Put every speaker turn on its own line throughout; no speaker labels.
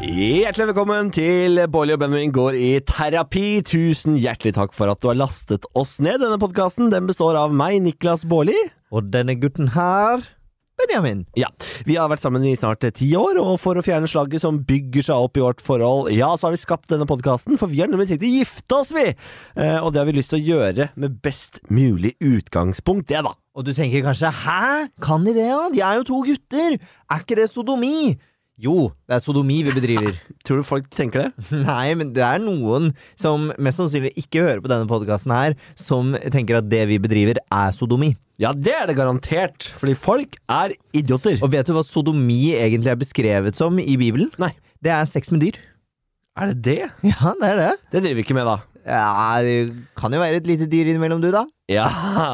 Hjertelig velkommen til Bolly og Benjamin går i terapi. Tusen hjertelig takk for at du har lastet oss ned. Denne podkasten den består av meg, Niklas Baarli.
Og denne gutten her, Benjamin.
Ja, Vi har vært sammen i snart ti år, og for å fjerne slaget som bygger seg opp i vårt forhold, ja, så har vi skapt denne podkasten, for vi har nemlig tenkt å gifte oss, vi! Eh, og det har vi lyst til å gjøre med best mulig utgangspunkt, det, da.
Og du tenker kanskje 'hæ, kan de det, da? De er jo to gutter! Er ikke det sodomi?' Jo, det er sodomi vi bedriver.
Tror du folk tenker det?
Nei, men det er noen som mest sannsynlig ikke hører på denne podkasten her, som tenker at det vi bedriver, er sodomi.
Ja, det er det garantert, fordi folk er idioter.
Og vet du hva sodomi egentlig er beskrevet som i Bibelen?
Nei.
Det er sex med dyr.
Er det det?
Ja, det er det.
Det driver vi ikke med, da.
Ja, det kan jo være et lite dyr innimellom, du, da.
Ja,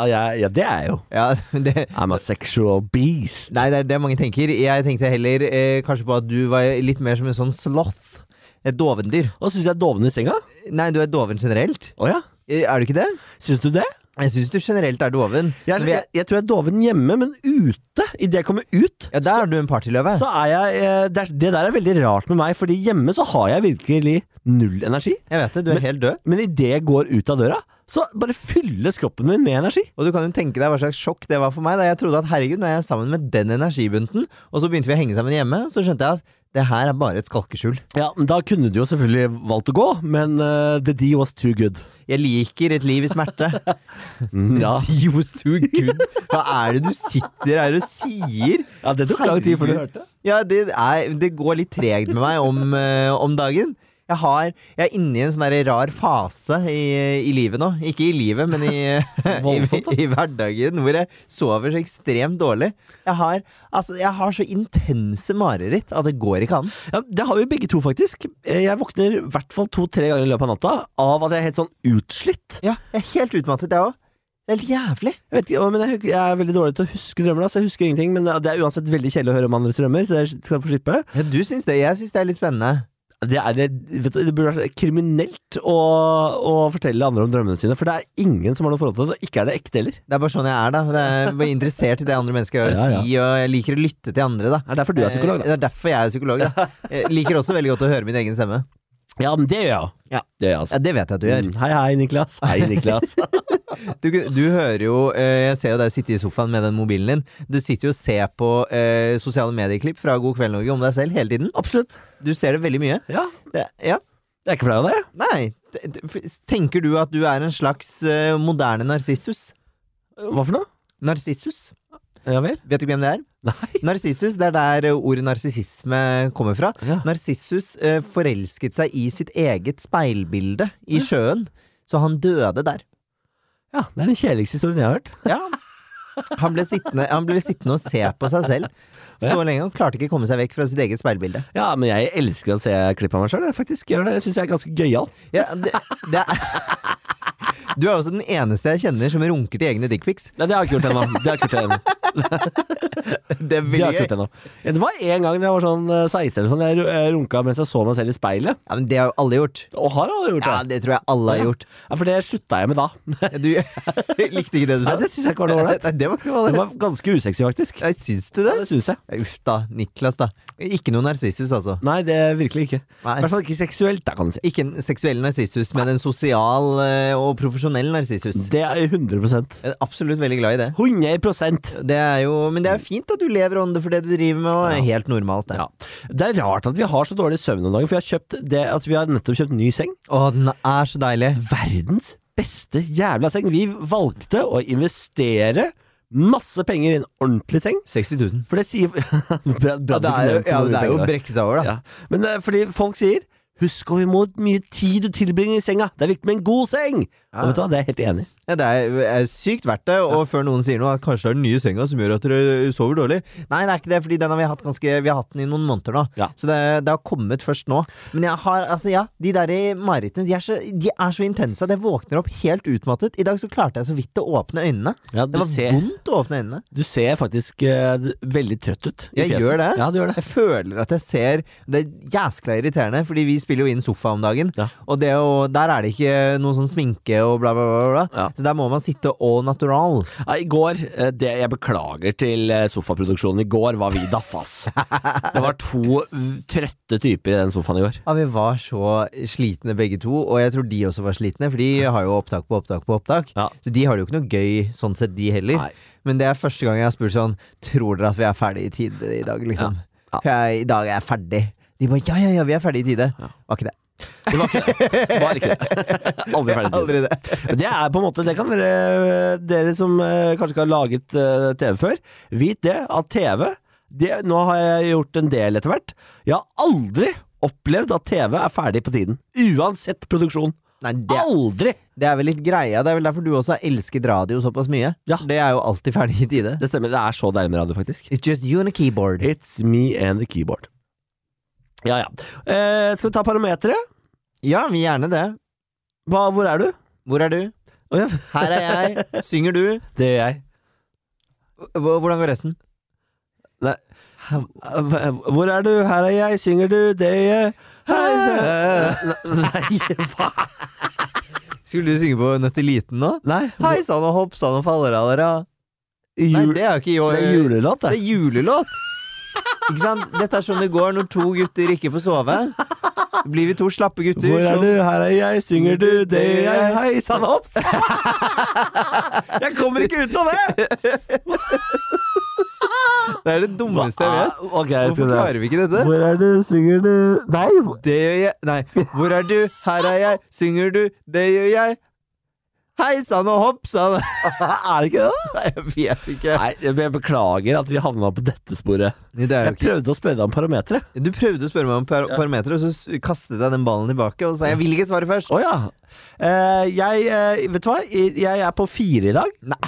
ja, ja det er jeg jo.
Ja, men det,
I'm a sexual beast.
Nei, det er det mange tenker. Jeg tenkte heller eh, kanskje på at du var litt mer som en sånn sloth. Et dovendyr.
Og syns jeg er doven i senga?
Nei, du er doven generelt.
Å ja?
Eh, Er du ikke det?
Syns du det?
Jeg syns du generelt er doven.
Jeg, er,
Men
jeg, jeg tror jeg er doven hjemme, men ute, idet jeg kommer ut
ja, der er du en partyløve.
så er jeg eh, det, er, det der er veldig rart med meg, fordi hjemme så har jeg virkelig null energi.
Jeg vet det, du er
Men-
helt død.
Men idet jeg går ut av døra, så bare fylles kroppen min med energi.
Og du kan jo tenke deg hva slags sjokk det var for meg da jeg trodde at herregud, nå er jeg sammen med den energibunten, og så begynte vi å henge sammen hjemme, så skjønte jeg at det her er bare et skalkeskjul.
Ja, men Da kunne du jo selvfølgelig valgt å gå, men eh, the D was too good.
Jeg liker et liv i smerte. Mhm.
Mm, ja.
He was too good. Hva er det du sitter her og sier?
ja, det tok lang tid før du
Herregud.
hørte.
Ja, det, er, det går litt tregt med meg om, eh, om dagen. Jeg, har, jeg er inne i en sånn der rar fase i, i livet nå. Ikke i livet, men i, i,
Voldsomt, da.
i hverdagen, hvor jeg sover så ekstremt dårlig. Jeg har, altså, jeg har så intense mareritt at det går ikke an.
Ja, Det har vi begge to, faktisk. Eh, Jeg våkner i hvert fall to-tre ganger i løpet av natta av at jeg er helt sånn utslitt.
Jeg er helt utmattet, jeg òg. Det er helt jævlig.
Jeg vet ikke, men jeg, huk- jeg er veldig dårlig til å huske drømmer. Altså. Jeg husker ingenting, men det er uansett veldig kjedelig å høre om andres drømmer. Så det skal du få slippe.
Ja, du syns det. Jeg syns det er litt spennende.
Det, er, vet du, det burde vært kriminelt å, å fortelle andre om drømmene sine, for det er ingen som har noe forhold til det. Og ikke er det ekte heller.
Det er bare sånn jeg er, da. Det er- Jeg er interessert i det andre mennesker har å
Ja, ja.
si, og jeg liker å lytte til andre, da.
Det er derfor du er psykolog, da.
Det er Eh, derfor jeg er psykolog, da. Jeg liker også veldig godt å høre min egen stemme.
Ja, men det gjør jeg.
Ja.
Det gjør jeg,
Ja,
altså.
det vet jeg at du gjør.
Mm, Hei, hei, Niklas. Hei, Niklas.
Du, du hører jo eh, Jeg ser jo deg sitte i sofaen med den mobilen din. Du sitter jo og ser på eh, sosiale medieklipp fra God kveld Norge om deg selv hele tiden.
Absolutt.
Du ser det veldig mye.
Ja.
Det, ja.
Jeg er ikke flau av det.
Nei. t- t- f- Tenker du at du er en slags eh, moderne narsissus?
Hva for noe?
Narsissus?
Ja vel?
Vet du hvem det er?
Nei.
Narsissus, det er der eh, ordet narsissisme kommer fra.
Ja.
Narsissus eh, forelsket seg i sitt eget speilbilde i sjøen, så han døde der.
ja, det er den kjedeligste historien jeg har hørt.
Ja. Han ble, sittende, han ble sittende og se på seg selv så lenge. Han klarte ikke å komme seg vekk fra sitt eget speilbilde.
Ja, men jeg elsker å se klipp av meg sjøl, faktisk. Gjør det. Jeg syns jeg er ganske gøyal.
Ja, det, det er, du er også den eneste jeg kjenner som runker til egne dickpics.
Nei, det har jeg ikke gjort ennå. Det har jeg ikke gjort ennå. Det
Det
har jeg ikke gjort ennå. Ja, Det var en gang da jeg var sånn eh, 16 eller sånn, jeg ru- jeg runka mens jeg så meg selv i speilet.
Ja, men det har jo alle gjort.
Og har alle gjort det?
Ja, Det tror jeg alle har gjort.
Ja, for det slutta jeg med da. Nei,
Du likte ikke det du sa?
det syns jeg ikke var noe ålreit.
Nei, det var ikke noe
Det
ålreit.
var ganske usexy, faktisk.
Nei, Syns du
Ja,
det?
det syns jeg.
Uff da, Niklas da. Ikke noe narsissus, altså.
Nei, det er virkelig ikke. I
Nei.
hvert fall ikke seksuelt, da, kan du si.
Ikke en seksuell narsissus, men en sosial eh, og profesjonell narsissus.
Det er 100 100
Jeg er absolutt veldig glad i det. Det er jo, men det er jo fint at du lever ånde for det du driver med, og er helt normalt det.
Mm. Ja. Det er rart at vi har så dårlig søvn om dagen, for vi har, kjøpt det, at vi har nettopp kjøpt ny seng.
Å, den er så deilig.
Verdens beste jævla seng. Vi valgte å investere masse penger i en ordentlig seng.
60 000.
For det sier bra, bra,
Ja, det er jo, ja, det er jo å
bredt.
brekke seg over, da.
Ja. Men eh, fordi folk sier 'husk hvor mye- mye tid du tilbringer i senga', det er viktig med en god seng!
Ja.
Og vet du hva, det er jeg helt enig i.
Ja, det er, er sykt verdt det, og før noen sier noe, at kanskje det er den nye senga som gjør at dere sover dårlig. Nei, det er ikke det, fordi den har vi hatt ganske, vi har hatt den i noen måneder nå.
Ja.
Så det, det har kommet først nå. Men jeg har, altså ja, de der i marerittene, de, er så- de er så intense at jeg våkner opp helt utmattet. I dag så klarte jeg så vidt å åpne øynene.
du,
Det var
ser,
vondt å åpne øynene.
du ser faktisk eh, veldig trøtt ut. i
Jeg
fjeset.
gjør det.
Ja, du gjør det.
Jeg føler at jeg ser Det er jæskla irriterende, fordi vi spiller jo inn sofa om dagen,
Ja.
og det å, der er det ikke noe sånn sminke og bla, bla, bla. bla.
Ja.
Så der må man sitte au natural.
Nei, I går eh, det, Jeg beklager til eh, sofaproduksjonen. I går var vi daffas. Det var to v- trøtte typer i den sofaen i går.
Ja, vi var så slitne begge to, og jeg tror de også var slitne, for de har jo opptak på opptak på opptak.
Ja.
Så de har det jo ikke noe gøy sånn sett, de heller.
Nei.
Men det er første gang jeg har spurt sånn Tror dere at vi er ferdig i tide i dag, liksom?
Ja.
Jeg, I dag er jeg ferdig. De bare ja, ja, ja, vi er ferdig i tide.
Ja.
Var ikke det.
Det var ikke det. Var ikke det. Aldri ferdig. til.
Aldri det.
Det er på en måte Det kan dere, dere som eh, kanskje ikke har laget eh, TV før, vit det at TV det, Nå har jeg gjort en del etter hvert. Jeg har aldri opplevd at TV er ferdig på tiden. Uansett produksjon.
Nei, det,
Aldri!
det er vel litt greia. Det er vel derfor du også har elsket radio såpass mye.
Ja.
Det er jo alltid ferdig i tide.
Det stemmer. Det er så deilig med radio, faktisk.
It's just you and a keyboard.
It's me and the keyboard. Ja, ja. Eh, skal vi ta parometeret?
Ja, vi gjerne det.
Hva, hvor er du?
Hvor er du?
Å, ja.
Her er jeg. Synger du?
Det gjør jeg.
H- Hvordan går resten?
Nei. Hva- Hvor er du? Her er jeg, synger du, det gjør jeg. Hei, se- Nei, hva?
Eh. Skulle du synge på Nøtteliten nå?
Nei,
Hei sann og hopp sann og fallerallera. Nei,
Jul,
det er jo ikke jo-
det er julelåt,
Det
det.
er julelåt! Ikke sant? Dette er sånn det går når to gutter ikke får sove. Blir vi to slappe gutter.
Hvor er
som-
du? Her er jeg, synger du, det gjør jeg. Hei sann hopp! Jeg kommer ikke utenom det!
Det er det dummeste jeg vet.
Ah, Ok, jeg
Hvorfor
skal se.
klarer vi ikke dette?
Hvor er du, synger du Nei! hvor-
Det gjør jeg Nei. Hvor er du? Her er jeg. Synger du? Det gjør jeg. Hei sann og hopp sann.
Er det ikke det?
Nei, jeg vet ikke.
Nei, jeg beklager at vi havna på dette sporet.
Det er jo
Jeg
ikke.
prøvde å spørre deg om parameteret.
Du prøvde å spørre meg om par parametere, og så s- kastet jeg den ballen tilbake og sa jeg vil ikke svare først.
Å ja. Eh, jeg eh, Vet du hva? Jeg er på fire i dag.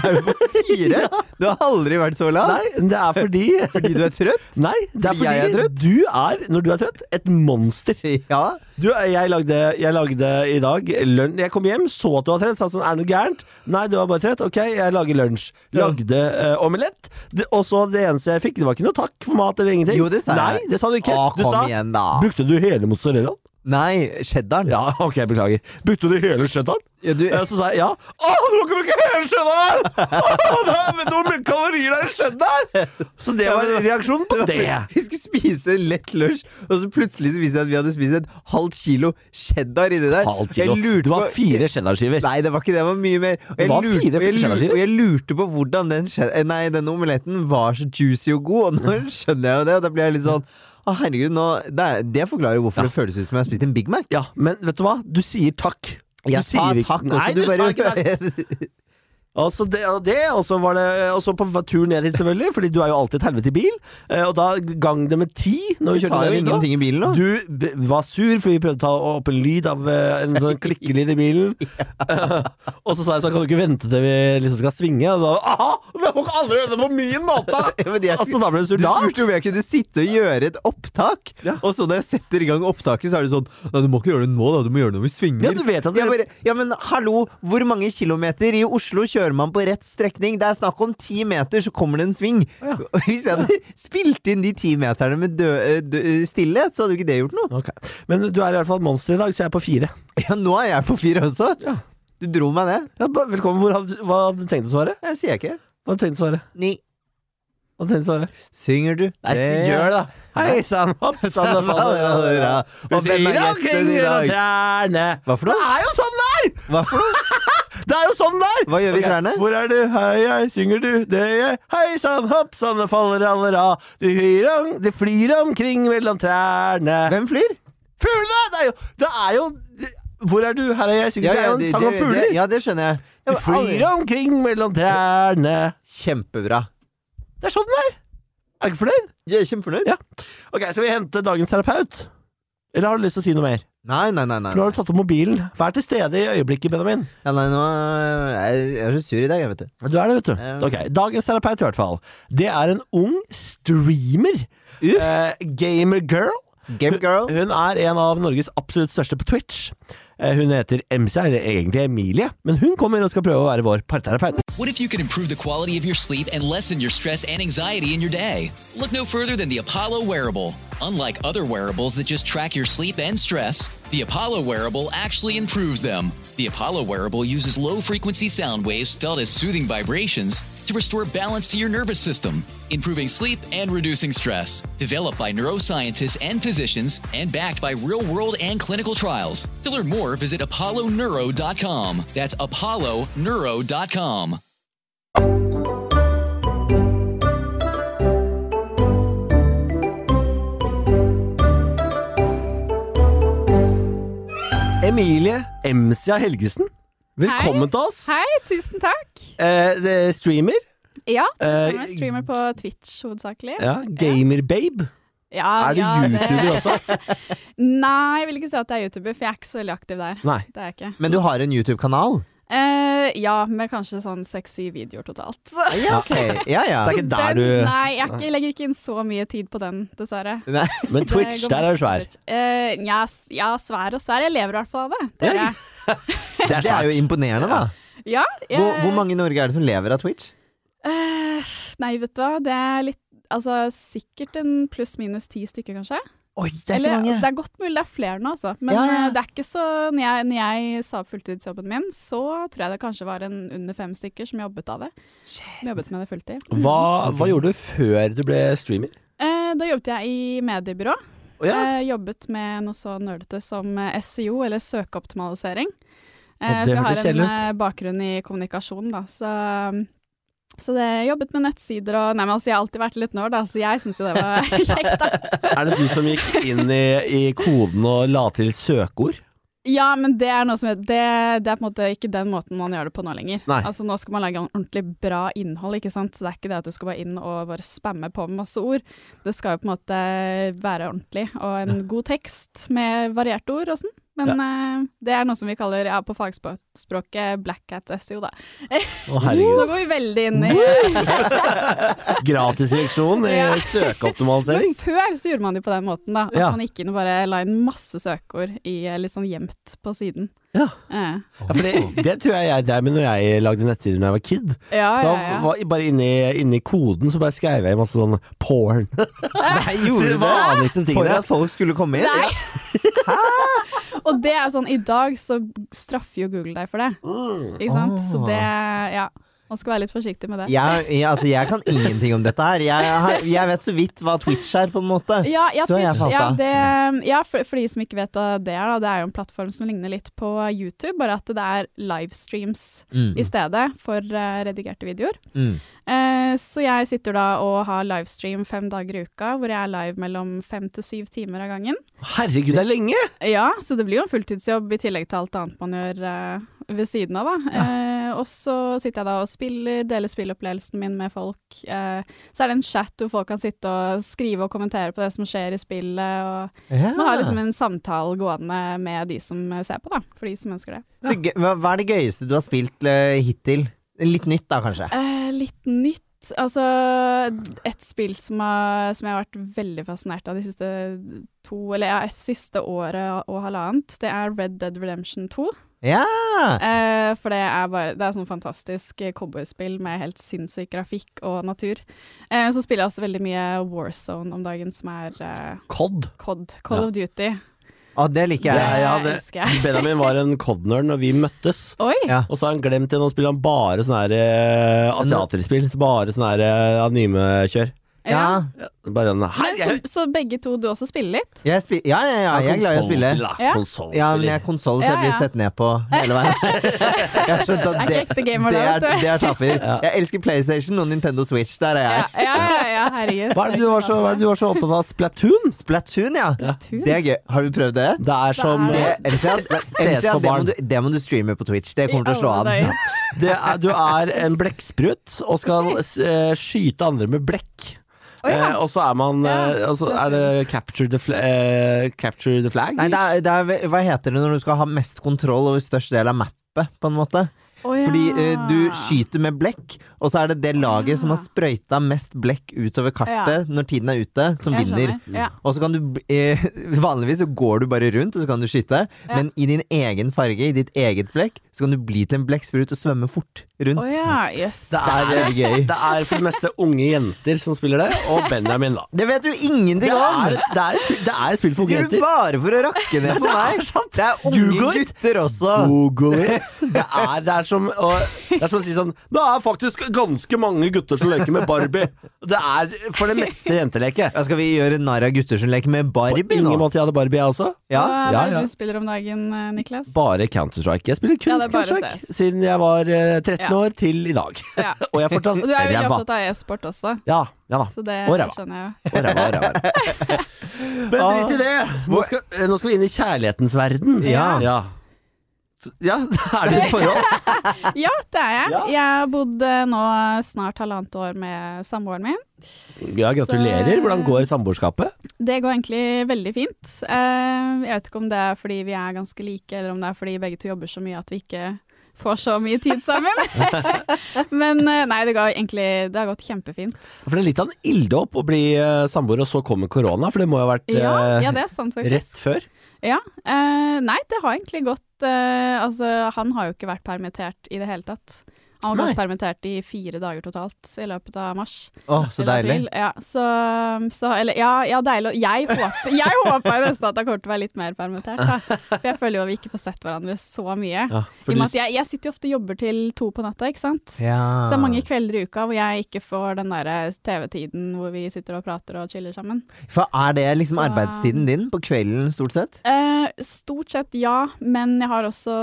Fire? Du har aldri vært så lav.
Nei, det er fordi
Ah. Fordi du er trøtt?
Nei, det er
Fordi
fordi
jeg er trøtt?
du er, når du er trøtt, et monster.
Ja.
Du, jeg lagde, jeg lagde i dag lunsj Jeg kom hjem, så at du var trøtt, sa sånn Er det noe gærent? Nei, du var bare trøtt. Ok, jeg lager lunsj. Lagde eh, omelett. Det- Og så det eneste jeg fikk, det var ikke noe takk for mat eller ingenting.
Jo, det sa jeg.
Nei, det sa du ikke.
Å,
du
kom
sa
igjen, da.
Brukte du hele mozzarellaen?
Nei, cheddaren.
Ja, ok, beklager. Brukte du hele cheddaren?
Ja, du,
Eh, Så sa jeg ja. Å, du må ikke bruke hele cheddaren! Å, det er- Vet du hvor mye kalorier det er i cheddaren? Så det var reaksjonen på det.
Vi skulle spise en lett lunsj, og så plutselig så viste det seg at vi hadde spist et halvt kilo cheddar inni der.
halvt kilo.
Jeg lurte
Det var
på-
fire cheddarskiver.
Nei, det var ikke det. Det var mye mer. Og
Det var fire
og jeg,
forskjellige
lurte, og jeg lurte på hvordan den, skje- eh, nei, den omeletten var så juicy og god, og nå skjønner jeg jo det, og da blir jeg litt sånn Å, herregud, nå, det, er, det forklarer jo hvorfor det føles ut som jeg har spist en Big Mac.
Ja, men vet du hva? Du sier takk. Du
Jeg sa
sier ikke-
takk, og
Nei,
så du
du sa
bare
ikke takk. Altså det, og det, og så var det Og så på tur ned hit, selvfølgelig, Fordi du er jo alltid et helvete i bil. Eh, Og da gang det med ti når vi
Du sa
kjørte
jo
ned hit nå.
ingenting i bilen nå.
Du b- var sur fordi vi prøvde å ta opp en lyd av eh, en sånn klikkelyd i bilen. og så sa jeg sånn, kan du ikke vente til vi liksom skal svinge? Og da aha! Jeg får ikke aldri gjøre det på min måte!
Ja, men jeg-
altså, da ble du sur
Du
da?
spurte om jeg kunne sitte og gjøre et opptak,
Ja.
og så når jeg setter i gang opptaket, så er det sånn Nei, du må ikke gjøre det nå, da. Du må gjøre det når vi svinger.
Ja, du vet at det-
jeg bare, ja, men hallo, hvor mange kilometer i Oslo kjører man på rett strekning? Det er snakk om ti meter, så kommer det en sving.
Ja.
Og Hvis jeg hadde spilt inn de ti meterne med dø, eh, dø, stillhet, så hadde jo ikke det gjort noe.
Ok. Men du er i hvert fall et monster i dag, så jeg er på fire.
Ja, nå er jeg på fire også.
Ja.
Du dro meg ned.
Ja, ba- velkommen. Hvor hadde, hva hadde du tenkt å svare?
Jeg sier ikke.
Hva hadde du tenkt å svare?
Ni.
Hva hadde du tenkt å svare?
Synger du?
Nei, si- gjør det, da! Hei sann, hopp sann, det faller av døra.
Og hvem er gjesten i dag? Hva for
Det
noe?
er jo sånn det er!
Hva for noe?
Det er jo sånn det er!
Hva gjør vi i
Ok,
trærne?
Hvor er du? Hei, jeg synger du, det gjør jeg. Hei sann, hopp sann, det faller aller av. De flyr, om, de flyr omkring mellom trærne.
Hvem flyr?
Fuglene! Det er jo, det er jo Hvor er du? Her er jeg, synger du. Det er jo en sang om fugler.
det- ja, det skjønner jeg.
De
Jeg var
flyr
aldri-
omkring mellom trærne.
Kjempebra.
Det er sånn det er. Er du ikke fornøyd?
Jeg er kjempefornøyd.
Ja. Ok, Skal vi hente dagens terapeut? Eller har du lyst til å si noe mer?
Nei, nei, nei. nei.
For nå har du tatt opp mobilen. Vær til stede i øyeblikket, Benjamin.
Ja, nei nå, er jeg, jeg er så sur i dag, jeg, vet du.
Du er det, vet du.
Ja.
Eh. Ok, Dagens terapeut, i hvert fall. Det er en ung streamer.
Uh.
Eh, gamer girl.
Game girl.
Hun er en av Norges absolutt største på Twitch. Eh, Hun heter MC, eller egentlig Emilie, men hun kommer og skal prøve å være vår parterapeut.
What if you could improve the quality of your sleep and lessen your stress and anxiety in your day? Look no further than the Apollo wearable. Unlike other wearables that just track your sleep and stress, the Apollo wearable actually improves them. The Apollo wearable uses low frequency sound waves felt as soothing vibrations to restore balance to your nervous system, improving sleep and reducing stress. Developed by neuroscientists and physicians and backed by real world and clinical trials. To learn more, visit apolloneuro.com. That's apolloneuro.com.
Emilie MC Helgesen, velkommen
Hei.
til oss.
Hei, tusen takk.
Eh, det er streamer.
Ja, det
Eh,
stemmer. Streamer på Twitch hovedsakelig.
Ja, Gamerbabe.
Ja,
Er du
ja,
YouTuber også?
Nei, jeg vil ikke si at jeg er YouTuber, for jeg er ikke så veldig aktiv der.
Nei.
Det er jeg ikke.
Men du har en YouTube-kanal?
Eh, ja, med kanskje sånn seks-syv videoer totalt. Så
Ja, ok. Ja, ja.
Så det er ikke der
den,
du
Nei, jeg er ikke, legger ikke inn så mye tid på den, dessverre.
Nei.
Men Twitch, der er du svær.
Uh, ja, s- ja, svær og svær. Jeg lever i hvert fall av det.
Ja,
det gjør jeg.
Det er
Det er jo
svært.
imponerende, da.
ja, jeg,
Hvor, hvor mange i Norge er det som lever av Twitch?
Eh, nei, vet du hva. Det er litt Altså sikkert en pluss-minus ti stykker, kanskje.
Oi, det
Eller, det er godt mulig det er flere nå, altså. Men
Ja, ja, ja.
eh, det er ikke så når jeg, når jeg sa opp fulltidsjobben min, så tror jeg det kanskje var en under fem stykker som jobbet av det. Som jobbet med det fulltid.
Hva, hva gjorde du før du ble streamer?
Eh, da jobbet jeg i mediebyrå.
Å ja.
Eh, jobbet med noe så nerdete som eh, SEO, eller søkeoptimalisering.
Ja, det
Eh, for
hørtes
jeg har en
kjedelig ut.
eh, bakgrunn i kommunikasjon, da. Så, um, så det jobbet med nettsider og Nei, men altså, jeg har alltid vært litt nerd, da, så jeg syns jo det var kjekt, da.
Er det du som gikk inn i, i koden og la til søkeord?
Ja, men det er noe som heter det, det er på en måte ikke den måten man gjør det på nå lenger.
Nei.
Altså Nå skal man lage ordentlig bra innhold, ikke sant. Så det er ikke det at du skal bare inn og bare spamme på med masse ord. Det skal jo på en måte være ordentlig, og en god tekst med varierte ord og sånn. Men eh, det er noe som vi kaller ja, på fagspråket black cat SEO, da.
Å
Nå
herregud.
går vi veldig inn i
Gratisreaksjon i
Ja. Men
søkeoptimalisering.
før så gjorde man det jo på den måten, da. At
Ja.
man gikk inn og bare la inn masse søkeord i eh, litt sånn gjemt på siden.
Ja.
Eh,
Ja, for det, det tror jeg jeg drev med når jeg lagde nettsider da jeg var kid.
ja,
Da
ja, ja.
var jeg bare inni, inni koden så bare skrev jeg masse sånn porn.
Nei, gjorde
Det
du det?
vanligste
For
tingene.
at folk skulle komme inn?
Nei. Og det er sånn, i dag så straffer jo Google deg for det. Ikke sant? Så
Ah.
det Ja. Man skal være litt forsiktig med det.
Jeg, jeg, altså, jeg kan ingenting om dette her. Jeg, har- jeg vet så vidt hva Twitch er, på en måte.
Ja, ja,
Så har jeg
Twitch,
falt
ja,
av.
det, ja for, for de som ikke vet hva det er, da, det er jo en plattform som ligner litt på YouTube, bare at det er livestreams
Mm,
i stedet for eh, redigerte videoer.
mm.
Eh, så jeg sitter da og har livestream fem dager i uka, hvor jeg er live mellom fem til syv timer av gangen.
Herregud, det er lenge!
Ja, så det blir jo en fulltidsjobb i tillegg til alt annet man gjør eh, ved siden av, da. Eh, og så sitter jeg da og spiller, deler spillopplevelsen min med folk. Eh, så er det en chat hvor folk kan sitte og skrive og kommentere på det som skjer i spillet. Og
Ja.
man har liksom en samtale gående med de som ser på, da. For de som ønsker det.
så gøy, hva, hva er det gøyeste du har spilt eh, hittil? Litt nytt, da, kanskje?
Eh, litt nytt. Altså, et spill som, har, som jeg har vært veldig fascinert av de siste to, eller ja, siste året og halvannet, det er Red Dead Redemption 2.
Ja!
Eh, for det er bare Det er sånn fantastisk eh, cowboyspill med helt sinnssyk grafikk og natur. Eh, så spiller jeg også veldig mye Warzone om dagen, som er eh,
Cod.
COD. Call of Duty.
Å, det liker
Ja,
jeg.
ja,
Det
det-
elsker jeg.
Benjamin var en cod-nerd når vi møttes.
Oi!
Ja.
Og så har han glemt det, nå spiller han bare sånne her eh, asiaterspill. Så Bare sånne her eh, anime-kjør.
Ja,
Ja.
Bare sånn Hei,
Men så,
jeg,
så begge to, du også spiller litt?
jeg spi- ja, ja, ja, jeg er glad i å spille.
Ja.
Ja, men jeg er
Konsollspiller.
konsoll, så jeg
Ja,
blir
ja.
sett ned på hele veien. Jeg har skjønt at
Jeg er
det,
ikke ekte gamer
det,
da,
er,
vet du.
det er taper.
Ja.
Jeg elsker PlayStation og Nintendo Switch. Der er
Ja,
jeg.
ja, ja, ja herregud.
Hva er det du var så, hva er det du var så opptatt av? Splatoon?
Splatoon, ja.
Tur.
Det er gøy. Har du prøvd det?
Det er som
Det
Det,
eh,
MC,
Ses
det,
for
må
barn.
du, det må du streame på Twitch. Det kommer
I
til å slå
alle
an.
dager.
det er, Du er en blekksprut og skal eh, skyte andre med blekk.
Å, ja.
Eh, og så er man eh,
Ja,
og så er det capture the, fl eh, capture the flag?
Nei, det er, det er, hva heter det når du skal ha mest kontroll over størst del av mappet, på en måte?
Å, ja.
Fordi eh, du skyter med blekk, og så er det det laget som har sprøyta mest blekk utover kartet når tiden er ute, som
Jeg
vinner.
skjønner, Ja.
Og så kan du eh, Vanligvis så går du bare rundt, og så kan du skyte.
Ja.
Men i din egen farge, i ditt eget blekk, så kan du bli til en blekksprut og svømme fort rundt.
Å ja, jøss.
Det er veldig gøy.
Det er for det meste unge jenter som spiller det, og Benjamin, da.
Det vet du ingenting
Det er,
om!
det er, et spill- det er et spill for unge
Sier du
jenter.
bare for å rakke ned på meg? Det er unge
Google it.
gutter også.
Google it! Det er, det, er som, å- det er som å si sånn Det er faktisk ganske mange gutter som leker med Barbie. Det er for det meste jenteleke.
Ja, skal vi gjøre narr av gutter som leker med
På
Barbie
ingen
nå?
måte jeg hadde Barbie, jeg også.
Ja,
Hva er
ja,
det
ja.
du spiller om dagen, eh, Niklas?
Bare Counter-Strike. Jeg spiller kun
Ja, det er bare
Counter-Strike
CS.
siden jeg var eh, 13
Ja.
år til i dag.
Ja.
Og jeg er fortsatt
Og du er veldig
ræva.
opptatt av e-sport også,
Ja, ja da.
så det
Og ræva.
skjønner jeg jo.
Og ræva, og ræva. Men drit i det! Nå skal, eh, nå skal vi inn i kjærlighetens verden.
Ja.
Ja, Så- ja er det et forhold?
Ja, det er jeg.
Ja.
Jeg har bodd eh, nå snart halvannet år med samboeren min.
Ja, gratulerer. Hvordan går samboerskapet?
Det går egentlig veldig fint. Eh, Jeg vet ikke om det er fordi vi er ganske like, eller om det er fordi begge to jobber så mye at vi ikke får så mye tid sammen. Men eh, nei, det, går egentlig, det har gått kjempefint.
For det er litt av en ilddåp å bli eh, samboer, og så kommer korona, for det må jo ha vært
Ja,
eh,
ja, det er sant faktisk.
rett før.
Ja. eh, nei, det har egentlig gått eh, Altså, han har jo ikke vært permittert i det hele tatt. Han var
Nei.
kanskje permittert i fire dager totalt i løpet av mars.
Å, så
Eller
deilig.
april. Ja, så, så eller, ja, ja, deilig. Og jeg håper, jeg håper jo nesten at han kommer til å være litt mer permittert. Da. For jeg føler jo at vi ikke får sett hverandre så mye.
Ja,
I
for
og
du,
med at jeg, jeg sitter jo ofte og jobber til to på natta, ikke sant.
Ja.
Så det er mange kvelder i uka hvor jeg ikke får den derre TV-tiden hvor vi sitter og prater og chiller sammen.
For er det liksom
Så-
arbeidstiden din på kvelden, stort sett?
Eh, stort sett ja, men jeg har også,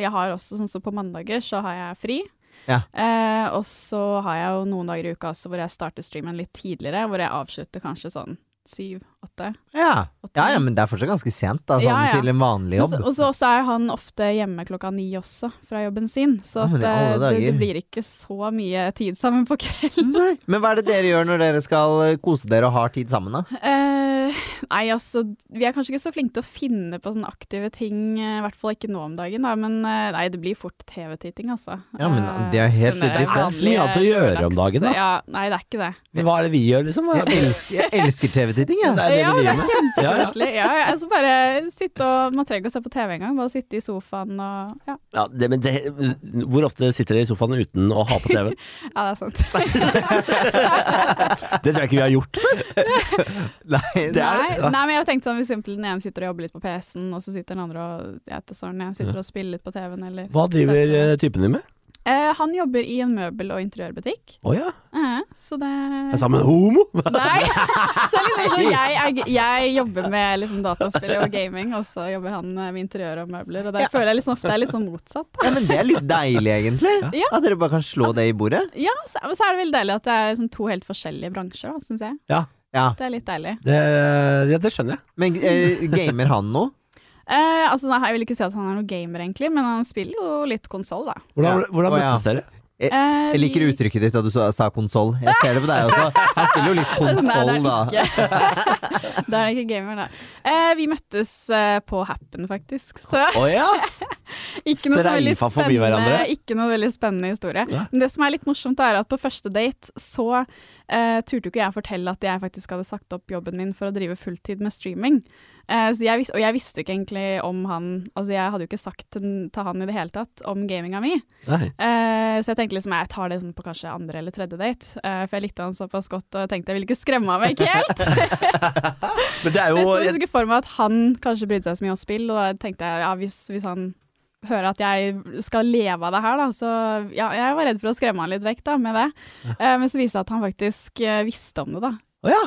jeg har også sånn som på mandager, så har jeg fri.
Ja.
Eh, og så har jeg jo noen dager i uka også hvor jeg starter streamen litt tidligere, hvor jeg avslutter kanskje sånn syv-åtte.
Ja. ja, ja, men det er fortsatt ganske sent, da, sånn
Ja, ja.
til en vanlig
Og
jobb.
så- og så også er han ofte hjemme klokka ni også, fra jobben sin. Så
Ja, men i
at,
alle
eh, det,
dager.
det blir ikke så mye tid sammen på kvelden.
Nei. Men hva er det dere gjør når dere skal eh, kose dere og har tid sammen, da?
Eh, nei, altså, vi er kanskje ikke så flinke til å finne på sånne aktive ting, eh, i hvert fall ikke nå om dagen, da, men eh, nei, det blir fort TV-titting, altså.
Ja, men
Eh,
det er helt
den der
legit,
Det
det.
er ikke så mye annet å
vanlige
gjøre om dagen, da.
Ja, nei, det er ikke det.
men hva er det vi gjør, liksom? Hva er
Jeg
det-
elsker, jeg elsker TV-titting,
det
jeg.
er det
Ja,
vi
det er
driver med. Ja, ja.
Koselig. Ja, ja, altså bare sitte og Man trenger ikke å se på TV engang, bare sitte i sofaen og Ja,
Ja, det, men det, hvor ofte sitter dere i sofaen uten å ha på TV?
ja det er sant.
Det tror jeg ikke vi har gjort.
Nei,
Det er
Nei, nei, men jeg tenkte sånn hvis simpel den ene sitter og jobber litt på PC-en, og så sitter den andre og jeg vet da søren, jeg sitter og spiller litt på TV-en eller
Hva driver
setter-
eh, typen din med?
eh, Han jobber i en møbel- og interiørbutikk,
Å ja,
eh, så det
er sammen med en homo?
Nei! Så det er litt mer sånn jeg, jeg, jeg jobber med liksom dataspill og gaming, og så jobber han eh, med interiør og møbler, og det føler jeg liksom ofte er litt sånn motsatt.
Ja, men det er litt deilig, egentlig.
Ja.
At dere bare kan slå det i bordet.
Ja, så, men så er det veldig deilig at det er sånn to helt forskjellige bransjer, da, syns jeg.
Ja,
Ja.
Det er litt deilig.
det, er- ja, det skjønner jeg.
Men eh, gamer han nå?
Eh, altså, nei, jeg vil ikke si at han er noen gamer, egentlig, men han spiller jo litt konsoll, da.
Hvordan,
Ja.
hvordan
Å, ja.
møttes dere?
Eh,
Jeg liker
vi-
uttrykket ditt at du så- sa konsoll. Jeg ser det på deg også. Han spiller jo litt konsoll, da.
Nei, det er det ikke. da er det ikke gamer, da. Eh, vi møttes eh, på Happen, faktisk. Så
Å ja!
ikke noe, så veldig
Streifa forbi
spennende,
hverandre.
ikke noe veldig spennende historie.
Ja.
Men det som er litt morsomt, er at på første date så eh, turte jo ikke jeg fortelle at jeg faktisk hadde sagt opp jobben min for å drive fulltid med streaming. Eh, så jeg vis og jeg visste jo ikke egentlig om han Altså, jeg hadde jo ikke sagt til, til han i det hele tatt om gaminga mi.
Nei.
Eh, så jeg tenkte liksom jeg tar det sånn på kanskje andre eller tredje date, eh, for jeg likte han såpass godt og jeg tenkte jeg ville ikke skremme han vekk helt.
Men det er
Jeg
jo
så liksom ikke for meg at han kanskje brydde seg så mye om spill, og da tenkte jeg ja, hvis, hvis han hører at jeg skal leve av det her, da, så ja, jeg var redd for å skremme han litt vekk da, med det. Eh, men så viste det seg at han faktisk eh, visste om det, da.
Å ja!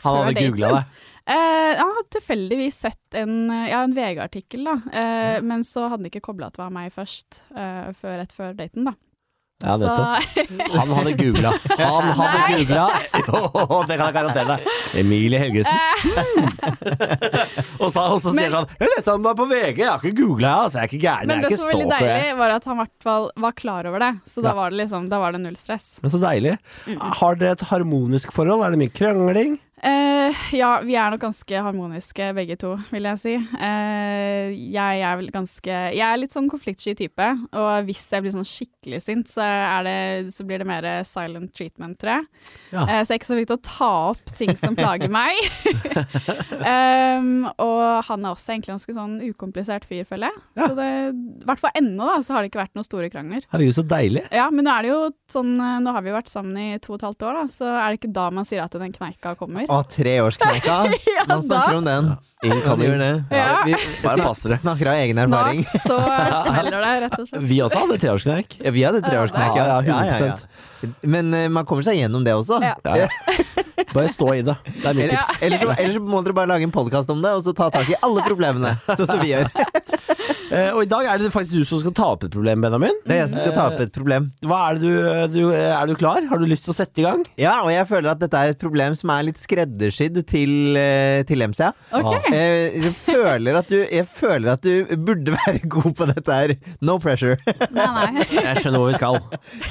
Han
Før
hadde
daten.
googla det.
Eh, han hadde tilfeldigvis sett en, eh, ja, en VG-artikkel, da, eh, men så hadde han ikke kobla at det var meg først, eh, før, rett før daten, da.
Ja, nettopp.
så
Han hadde googla. Han hadde googla. Jo, det kan jeg garantere deg. Emilie Helgesen. og så, og så sier
Men-
han Jeg leste om deg på VG, jeg har ikke googla, altså. Jeg er ikke gæren.
Men
Jeg
det
er
som
ikke
var veldig
stalker. jeg.
deilig, var at han i hvert fall var klar over det. Så
Ja.
da var det liksom, da var det null stress.
Men så deilig. Har dere et harmonisk forhold? Er det mye krangling?
Eh, ja, vi er nok ganske harmoniske begge to, vil jeg si. Eh, jeg er vel ganske Jeg er litt sånn konfliktsky type, og hvis jeg blir sånn skikkelig sint, så, er det, så blir det mer silent treatment, tror jeg.
Ja.
Eh, så jeg er ikke så flink til å ta opp ting som plager meg. Em, og han er også egentlig ganske sånn ukomplisert fyr, føler jeg.
Ja.
Så det, i hvert fall ennå, da, så har det ikke vært noen store krangler.
Herregud, så deilig.
Ja, men nå er det jo sånn eh, Nå har vi jo vært sammen i to og et halvt år, da, så er det ikke da man sier at den kneika kommer.
Å, treårskneika!
Ja,
Man snakker
da.
om den.
Incoming.
Gjør det.
Ja.
Vi
Bare
snak-
pass dere.
snakker av egen erfaring.
Snart så smeller det, rett og slett.
Vi også hadde treårskneik.
Ja, vi hadde treårskneik.
Ja, ja,
Men eh, man kommer seg gjennom det også.
Ja.
Ja. Bare stå i det. Det er mitt
Eller,
tips.
eller, så, eller så må dere bare lage en podkast om det, og så ta tak i alle problemene. Sånn som vi gjør.
Eh, og i dag er det faktisk du som skal ta opp et problem, Benjamin.
Det er jeg som skal ta opp et problem.
Hva er, det du, du, er du klar? Har du lyst til å sette i gang?
Ja, og jeg føler at dette er et problem som er litt skreddersydd til, eh, til MCA.
Ok.
Eh, Jeg føler, at du, jeg føler at du burde være god på dette her. No pressure.
Nei, nei.
Jeg skjønner hvor vi skal.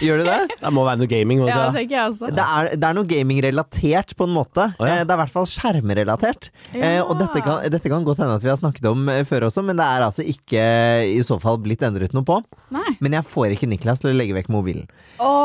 Gjør du det?
Det må være noe gaming. må det
Ja,
ikke
det
det?
tenker jeg også.
Det er, det er noe gaming-relatert, på en måte.
Å, ja.
Eh, Det er i hvert fall skjermrelatert. Eh,
Ja.
Og dette kan, dette kan godt hende at vi har snakket om eh, før også, men det er altså ikke i så fall blitt endret noe på.
Nei.
Men jeg får ikke Niklas til å legge vekk mobilen.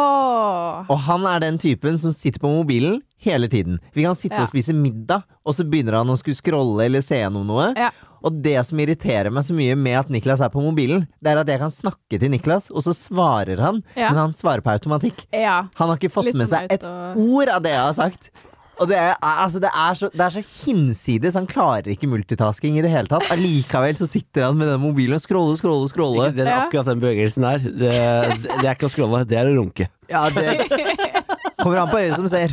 Åh.
Og han er den typen som sitter på mobilen hele tiden. Vi kan sitte
Ja.
og spise middag, og så begynner han å skulle scrolle eller se gjennom noe.
Ja.
Og det som irriterer meg så mye med at Niklas er på mobilen, det er at jeg kan snakke til Niklas, og så svarer han,
Ja.
men han svarer på automatikk.
Ja.
Han har ikke fått
Litt
med
sånn
seg et
ut og-
ord av det jeg har sagt. Og det er, altså det, er så, det er så hinsides. Han klarer ikke multitasking i det hele tatt. Allikevel så sitter han med den mobilen og scroller, scroller,
Ikke
scroller.
den,
Ja.
akkurat den bevegelsen der. Det, det, det er ikke å scrolle, det er å runke.
Ja, det kommer an på øyet som ser.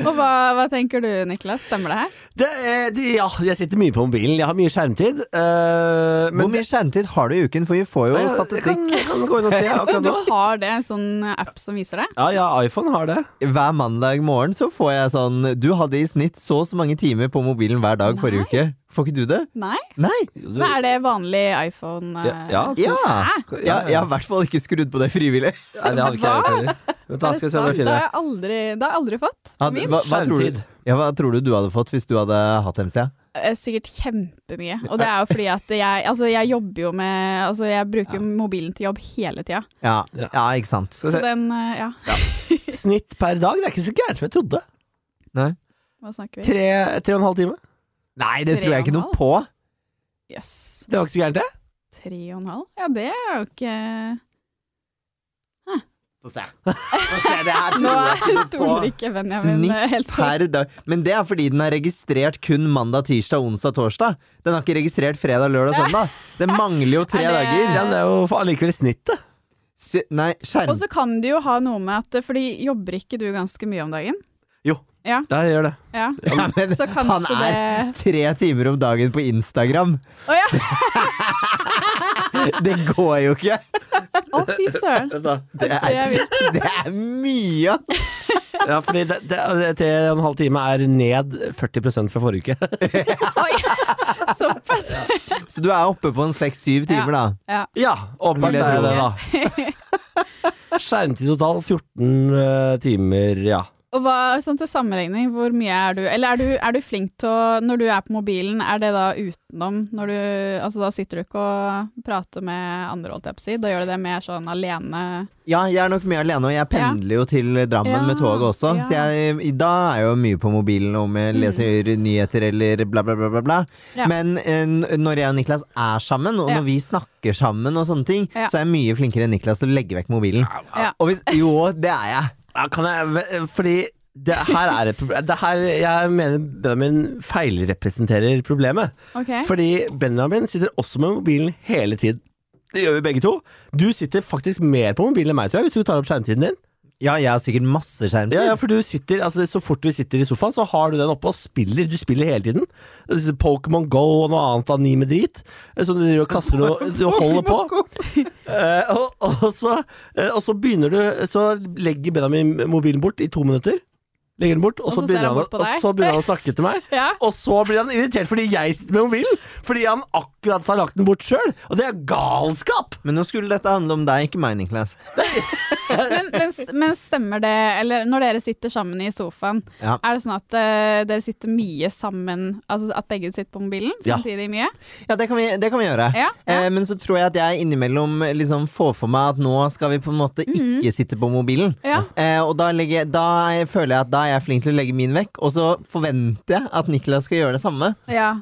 Og hva, hva tenker du, Niklas? Stemmer det her?
Det, er- det, ja, jeg sitter mye på mobilen. Jeg har mye skjermtid. eh, men
Hvor mye skjermtid har du i uken? For vi får jo
Ja, jeg
statistikk
kan, jeg kan gå inn og se akkurat
Du
nå.
har det, en sånn app som viser det?
Ja, ja, iPhone har det.
Hver mandag morgen så får jeg sånn Du hadde i snitt så og så mange timer på mobilen hver dag forrige uke. Får ikke du det?
Nei?
Nei?
Du,
Men er det vanlig iPhone? eh,
ja,
Ja.
Hæ?
ja jeg har i hvert fall ikke skrudd på det frivillig.
Nei, det hadde ikke jeg gjort heller. Vent, da skal
Er det
jeg se om jeg
sant? Det
finner
har
det.
jeg aldri, det har jeg aldri fått.
Hadde-
Min?
hva, hva, tror du,
Skjermtid.
ja, hva tror du du hadde fått hvis du hadde hatt MC?
Eh, Sikkert kjempemye. Og det er jo fordi at jeg, altså jeg jobber jo med Altså jeg bruker jo mobilen til jobb hele tida.
Ja,
Ja.
ja ikke sant.
Skal vi
Så
se.
den eh, Ja,
Snitt per dag, det er ikke så gærent som jeg trodde.
hva snakker vi?
Tre, tre og en halv time.
Nei, det tror jeg ikke noe på.
Jøss. Yes.
Det var ikke så gærent, det.
Tre og en halv? Ja, det er jo ikke
Få se. Få se, det her
Nå
tror jeg ikke noe på.
stoler ikke Benjamin eh,
Snitt
helt på
per dag. Men det er fordi den er registrert kun mandag, tirsdag, onsdag, torsdag. Den har ikke registrert fredag, lørdag, søndag. Det mangler jo tre
Er det-
dager.
Ja, men det er jo for allikevel snittet.
Sy nei, skjerm...
Og så kan det jo ha noe med at Fordi jobber ikke du ganske mye om dagen?
Jo,
Ja.
det gjør det.
Ja.
Ja, men
Så kanskje
han er
det-
tre timer om dagen på Instagram.
Å ja!
Det går jo ikke!
Å, fy søren.
Det
Det
er,
er vilt.
det er mye! ass.
Ja, fordi det, det, det, tre og en halv time er ned 40 fra forrige uke.
Oi, såpass.
Så du er oppe på en seks-syv timer, da.
Ja.
Ja, åpenbart
Vil jeg
er
tro.
det det, da. Skjermtid total 14 eh, timer, ja.
Og hva, sånn til sammenligning, hvor mye er du Eller er du, er du flink til å Når du er på mobilen, er det da utenom når du Altså da sitter du ikke og prater med andre, holdt jeg på å si. Da gjør du det mer sånn alene.
Ja, jeg er nok mye alene, og jeg pendler jo til Drammen
Ja,
med toget også. Så
ja. Mm.
jeg, da er jeg jo mye på mobilen om jeg leser nyheter eller bla, bla, bla. bla, bla.
Ja.
Men eh, n- når jeg og Niklas er sammen, og
Ja.
når vi snakker sammen, og sånne ting,
Ja.
så er jeg mye flinkere enn Niklas til å legge vekk mobilen.
Ja.
Og hvis, jo, det er jeg.
ja kan jeg, fordi det her er et problem det her, Jeg mener Benjamin feilrepresenterer problemet.
OK.
Fordi Benjamin sitter også med mobilen hele tiden. Det gjør vi begge to. Du sitter faktisk mer på mobilen enn meg, tror jeg, hvis du tar opp skjermtiden din.
Ja, jeg har sikkert masse skjermtid.
Ja, ja, for du sitter, altså Så fort vi sitter i sofaen, så har du den oppe og spiller. Du spiller hele tiden. Pokémon Go og noe annet anime-drit som du driver og kaster og du holder på. Eh, og, og, så, eh, og så begynner du Så legger Benjamin mobilen bort i to minutter. legger den bort, og
Og
så
så ser
begynner han
han
å-
bort på
og
deg.
så begynner han å snakke til meg.
Ja.
Og så blir han irritert fordi jeg sitter med mobilen, fordi han akkurat har lagt den bort sjøl. Og det er galskap!
Men nå skulle dette handle om deg, ikke mining class.
Men, men, men stemmer det, eller når dere sitter sammen i sofaen,
Ja.
er det sånn at eh, dere sitter mye sammen, altså at begge sitter på mobilen
Ja.
samtidig mye?
Ja, det kan vi, det kan vi gjøre.
Ja, ja.
Eh, men så tror jeg at jeg innimellom liksom får for meg at nå skal vi på en måte ikke sitte på mobilen.
Mhm. Ja.
Eh, og da, legger, jeg- da er- føler jeg at da er jeg flink til å legge min vekk, og så forventer jeg at Niklas skal gjøre det samme.
Ja.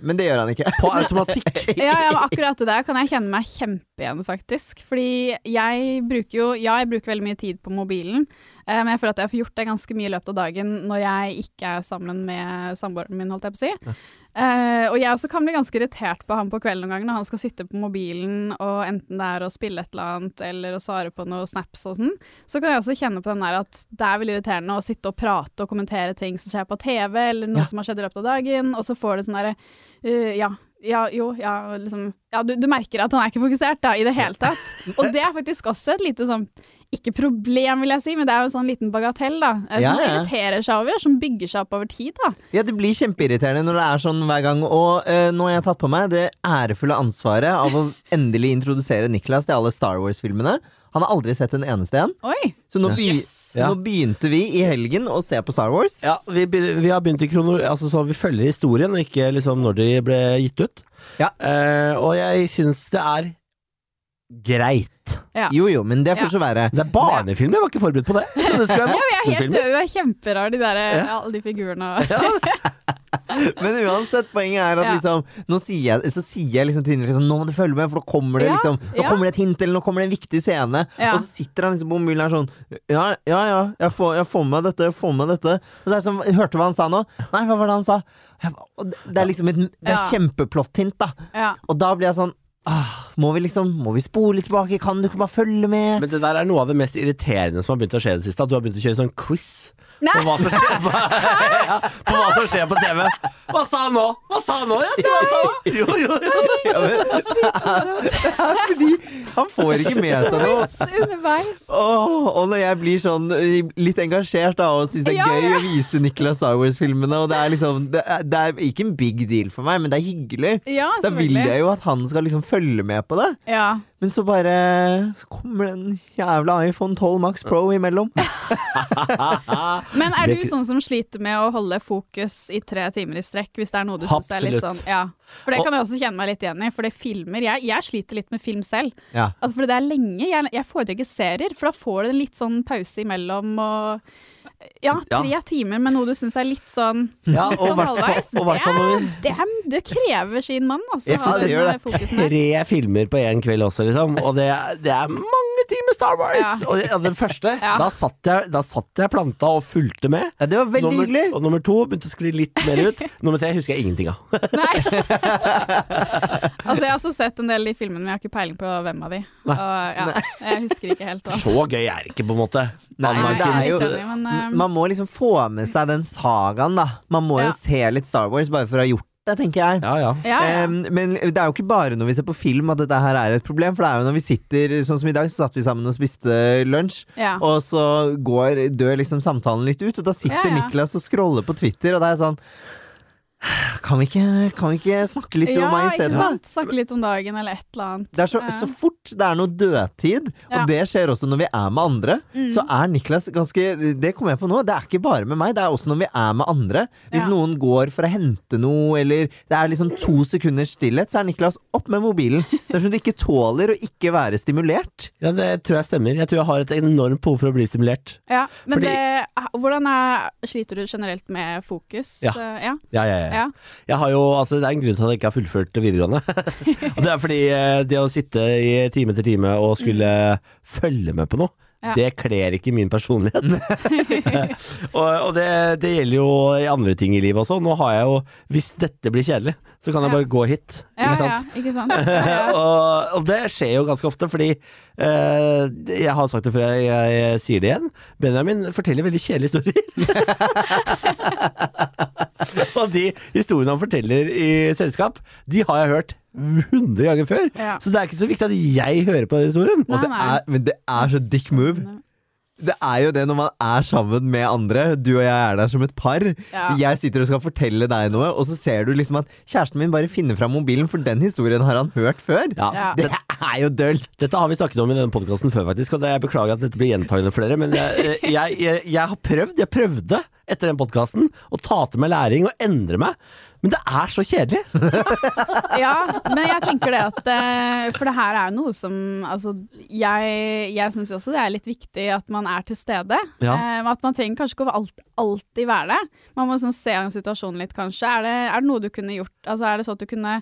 Men det gjør han ikke.
På automatikk.
Ja, ja, men akkurat det der kan jeg kjenne meg kjempe igjen, faktisk. Fordi jeg bruker jo Ja, jeg bruker veldig mye tid på mobilen, eh, men jeg føler at jeg får gjort det ganske mye i løpet av dagen når jeg ikke er sammen med samboeren min, holdt jeg på å si. Eh, og jeg også kan bli ganske irritert på han på kvelden noen ganger når han skal sitte på mobilen og enten det er å spille et eller annet eller å svare på noe snaps og sånn. Så kan jeg også kjenne på den der at det er veldig irriterende å sitte og prate og kommentere ting som skjer på TV eller noe som har skjedd i løpet av dagen, og så får du sånn derre eh, ja. Ja, jo, ja, liksom Ja, du, du merker at han er ikke fokusert, da, i det hele tatt. Og det er faktisk også et lite sånn Ikke problem, vil jeg si, men det er jo en sånn liten bagatell, da. eh, Som
Ja,
man
ja.
irriterer seg over, som bygger seg opp over tid, da.
Ja, Det blir kjempeirriterende når det er sånn hver gang. Og eh, nå har jeg tatt på meg det ærefulle ansvaret av å endelig introdusere Niklas til alle Star Wars-filmene. Han har aldri sett en eneste en.
Oi!
Så nå, begy
Yes.
Ja.
nå begynte vi i helgen å se på Star Wars.
Ja, vi, be- vi har begynt i krono... Altså, så vi følger historien, og ikke liksom når de ble gitt ut.
Ja.
Eh, og jeg syns det er greit.
Ja.
Jo jo, men det får
Ja.
så være.
Det er barnefilm, jeg var ikke forberedt på det. Jeg trodde det skulle være
Jeg er helt
voksenfilmer.
enig, det er kjemperart, de der,
Ja.
alle de figurene og
Men uansett, poenget er at
Ja.
liksom Nå sier jeg, så sier jeg liksom til Ingrid liksom, Nå må du følge med, for nå kommer det
Ja,
liksom Nå
ja.
kommer det et hint, eller nå kommer det en viktig scene
Ja.
Og så sitter han liksom på mobilen her sånn Ja, ja, ja, jeg får, jeg får med meg dette, jeg får med meg dette Og så er jeg sånn, hørte du hva han sa nå? Nei, hva var det han sa? Jeg ba- og det- Det er liksom et, det er
Ja.
kjempeplott-hint da
Ja.
Og da blir jeg sånn ah, Må vi liksom, må vi spole tilbake? Kan du ikke bare følge med?
Men det der er noe av det mest irriterende som har begynt å skje i det siste. At du har begynt å kjøre sånn quiz på hva, som skjer på, ja, på hva som skjer på TV. Hva sa han nå? Hva sa han nå? Ja, si hva han sa nå! Jo, jo, jo.
Ja, men, fordi han får ikke med seg noe
Underveis.
Åh, og når jeg blir sånn eh, litt engasjert da, og syns det er
Ja,
gøy
ja.
å vise Nicholas Star Wars-filmene og det, er liksom, det, er, det er ikke en big deal for meg, men det er hyggelig.
Ja,
Da vil
selvfølgelig.
jeg jo at han skal liksom følge med på det.
Ja.
Men så bare så kommer den jævla iPhone 12 Max Pro imellom.
Men
Det
er
er
du
ikke-
sånn som sliter med å holde fokus i tre timer i strekk, hvis det er noe du syns er
Absolutt.
litt sånn Ja. For det kan jeg også kjenne meg litt igjen i, for det filmer Jeg, jeg sliter litt med film selv.
Ja.
Altså fordi det er lenge. Jeg, jeg foretrekker serier, for da får du en litt sånn pause imellom og Ja, tre
Ja.
timer med noe du syns er litt sånn
Ja, og
sånn
hvertfall-
halvveis.
og hvertfall når vi-
Det, er- det krever sin mann, altså.
Jeg skulle
å ha
si
den
gjør det.
fokusen der.
Tre filmer på én kveld også, liksom. Og det, er- det er mange timer Star Wars!
Ja.
Og det- ja, den første,
Ja.
da, satt jeg, da satt jeg planta og fulgte med.
ja, det var veldig
nummer,
hyggelig.
Og nummer to begynte å skli litt mer ut. Nummer tre husker jeg ingenting av.
Nei. altså, jeg har også sett en del av de filmene, men jeg har ikke peiling på hvem av de. Og, ja, jeg husker ikke helt. Altså.
Så gøy er det ikke, på en måte.
Nei,
Nei,
men det er
jeg
jo
er litt enig, men, eh,
Man må liksom få med seg den sagaen, da. Man må
Ja.
jo se litt Star Wars bare for å ha gjort det, tenker jeg.
Ja, ja.
Ja, ja.
Em, men det er jo ikke bare når vi ser på film at dette her er et problem. For det er jo når vi sitter sånn som i dag, så satt vi sammen og spiste lunsj.
Ja.
Og så går, dør liksom samtalen litt ut, og da sitter
Ja, ja.
Niklas og scroller på Twitter, og det er sånn Kan vi ikke, kan vi ikke snakke litt
ja,
om meg
ikke
isteden, da?
sant? Snakke litt om dagen eller et eller annet.
Det er så,
Ja.
så fort det er noe dødtid,
Ja. Mm.
og det skjer også når vi er med andre, så er Niklas ganske Det kom jeg på nå, det er ikke bare med meg, det er også når vi er med andre. Hvis
Ja.
noen går for å hente noe, eller det er liksom to sekunders stillhet, så er Niklas opp med mobilen. Det er som du ikke tåler å ikke være stimulert.
Ja, det tror jeg stemmer. Jeg tror jeg har et enormt behov for å bli stimulert.
ja. Men
Fordi-
det, ah, hvordan er, sliter du generelt med fokus?
Ja.
Eh, ja.
Ja, ja, ja.
Ja.
Jeg har jo, altså, det er en grunn til at jeg ikke har fullført videregående. og det er fordi eh, det å sitte i time etter time og skulle følge med på noe,
Ja.
det kler ikke min personlighet. og og det, det gjelder jo i andre ting i livet også. Nå har jeg jo, hvis dette blir kjedelig, så kan jeg
Ja.
bare gå hit.
Ja,
ikke sant?
ja, ikke sant? Ja.
og, og det skjer jo ganske ofte, fordi eh, Jeg har sagt det før, jeg, jeg, sier det igjen. Benjamin forteller veldig kjedelige historier. og de historiene han forteller i selskap, de har jeg hørt 100 ganger før.
Ja.
Så det er ikke så viktig at jeg hører på den historien.
Nei,
Det
nei.
er, men det er så dick move. Det er jo det når man er sammen med andre. Du og jeg er der som et par.
Ja.
Jeg sitter og skal fortelle deg noe, og så ser du liksom at kjæresten min bare finner fram mobilen, for den historien har han hørt før.
Ja.
Ja.
Det er jo dølt!
Dette har vi snakket om i denne podkasten før, faktisk. Og det- jeg beklager at dette blir gjentagende for dere, men jeg, eh, jeg, jeg, jeg har prøvd, jeg prøvde etter den podkasten å ta til meg læring og endre meg. Men det er så kjedelig!
Ja, men jeg tenker det at eh, For det her er jo noe som Altså, jeg, jeg syns jo også det er litt viktig at man er til stede.
Ja.
Eh, at man trenger kanskje ikke å alt, alltid være det. Man må sånn se an situasjonen litt, kanskje. Er det, er det noe du kunne gjort Altså, er det sånn at du kunne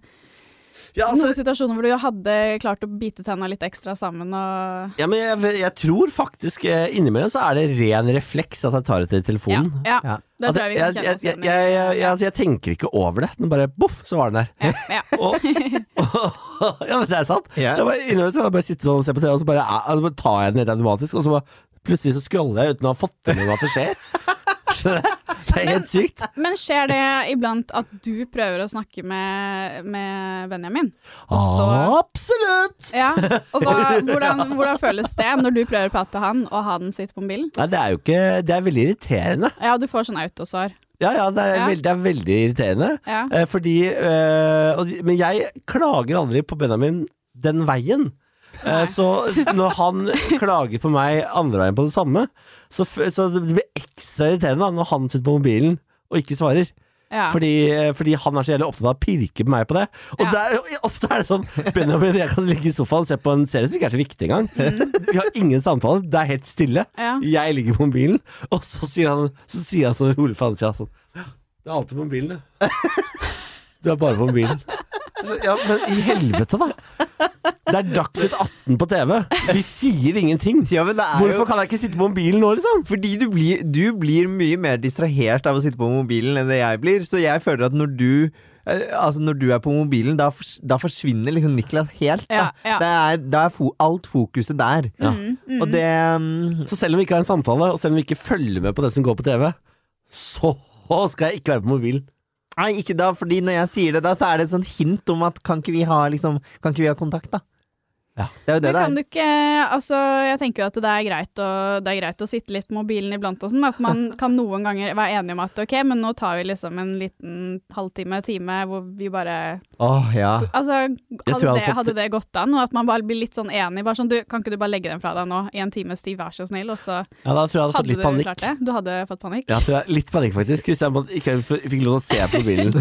Altså-
Noen situasjoner hvor du hadde klart å bite tenna litt ekstra sammen og
Ja, men jeg, jeg tror faktisk eh, innimellom så er det ren refleks at jeg tar etter telefonen.
Ja.
Ja.
Det
At
tror jeg vi kan kjenne oss
Altså, jeg,
igjen i.
jeg, jeg, jeg, jeg tenker ikke over det. Den bare boff, så var den der.
Ja, ja.
Og, og, ja, men det er sant.
Ja.
Jeg bare, innimellom så kan jeg bare sitte sånn og se på TV, og så bare, ja, så bare tar jeg den helt automatisk, og så bare, plutselig så scroller jeg uten å ha fått med meg at det skjer. Skjønner du? Det er helt sykt.
Men skjer det iblant at du prøver å snakke med, med Benjamin? Og
Ah.
så-
Absolutt!
Ja, og hva, hvordan, hvordan føles det når du prøver å prate til han, og han sitter på mobilen?
Nei, det er jo ikke Det er veldig irriterende.
Ja, du får sånn autosvar.
Ja, ja, det er,
Ja.
Veldig, det er veldig irriterende.
Ja.
Eh, fordi eh, og, Men jeg klager aldri på Benjamin den veien. Eh, så når han klager på meg andre veien på det samme, så, f så det blir ekstra irriterende da, når han sitter på mobilen og ikke svarer.
Ja.
Fordi, eh, fordi han er så jævlig opptatt av å pirke på meg på det. Og
Ja.
der, ofte er det sånn Benjamin og jeg kan ligge i sofaen og se på en serie som ikke er så viktig engang.
Mm.
Vi har ingen samtale, det er helt stille.
Ja.
Jeg ligger på mobilen, og så sier han, så sier han sånn rolig for sida sånn Det er alltid på mobilen, det. Du er bare på mobilen. Så, ja, men i helvete, da. Det er Dagsnytt 18 på TV. Vi sier ingenting.
Ja, men det er jo
Hvorfor kan jeg ikke sitte på mobilen nå, liksom?
Fordi du blir, du blir mye mer distrahert av å sitte på mobilen enn det jeg blir. Så jeg føler at når du eh, Altså når du er på mobilen, da, fors, da forsvinner liksom Niklas helt. Da,
Ja, ja.
Det er, da er fo, alt fokuset der. Og det mm,
Så selv om vi ikke har en samtale, og selv om vi ikke følger med på det som går på TV, så skal jeg ikke være på mobilen.
Nei, ikke da, fordi når jeg sier det da, så er det et sånt hint om at kan ikke vi ha, liksom, kan ikke vi ha kontakt, da?
Ja.
Det er jo det
Men
det er.
kan du ikke Altså, jeg tenker jo at det er greit å, det er greit å sitte litt på mobilen iblant og sånn. At man kan noen ganger være enige om at ok, men nå tar vi liksom en liten halvtime, time, hvor vi bare
Åh, ja.
Altså,
tror jeg
hadde,
hadde
det,
fått-
hadde det gått an? Og at man bare blir litt sånn enig. Bare sånn, du, kan ikke du bare legge den fra deg nå i en times tid, vær så snill? Og så
Ja, da tror jeg jeg hadde fått
hadde
litt
du
panikk.
klart det. Du hadde fått panikk?
Ja, tror jeg, litt panikk, faktisk, hvis jeg måtte, ikke f- fikk lov til å se på mobilen.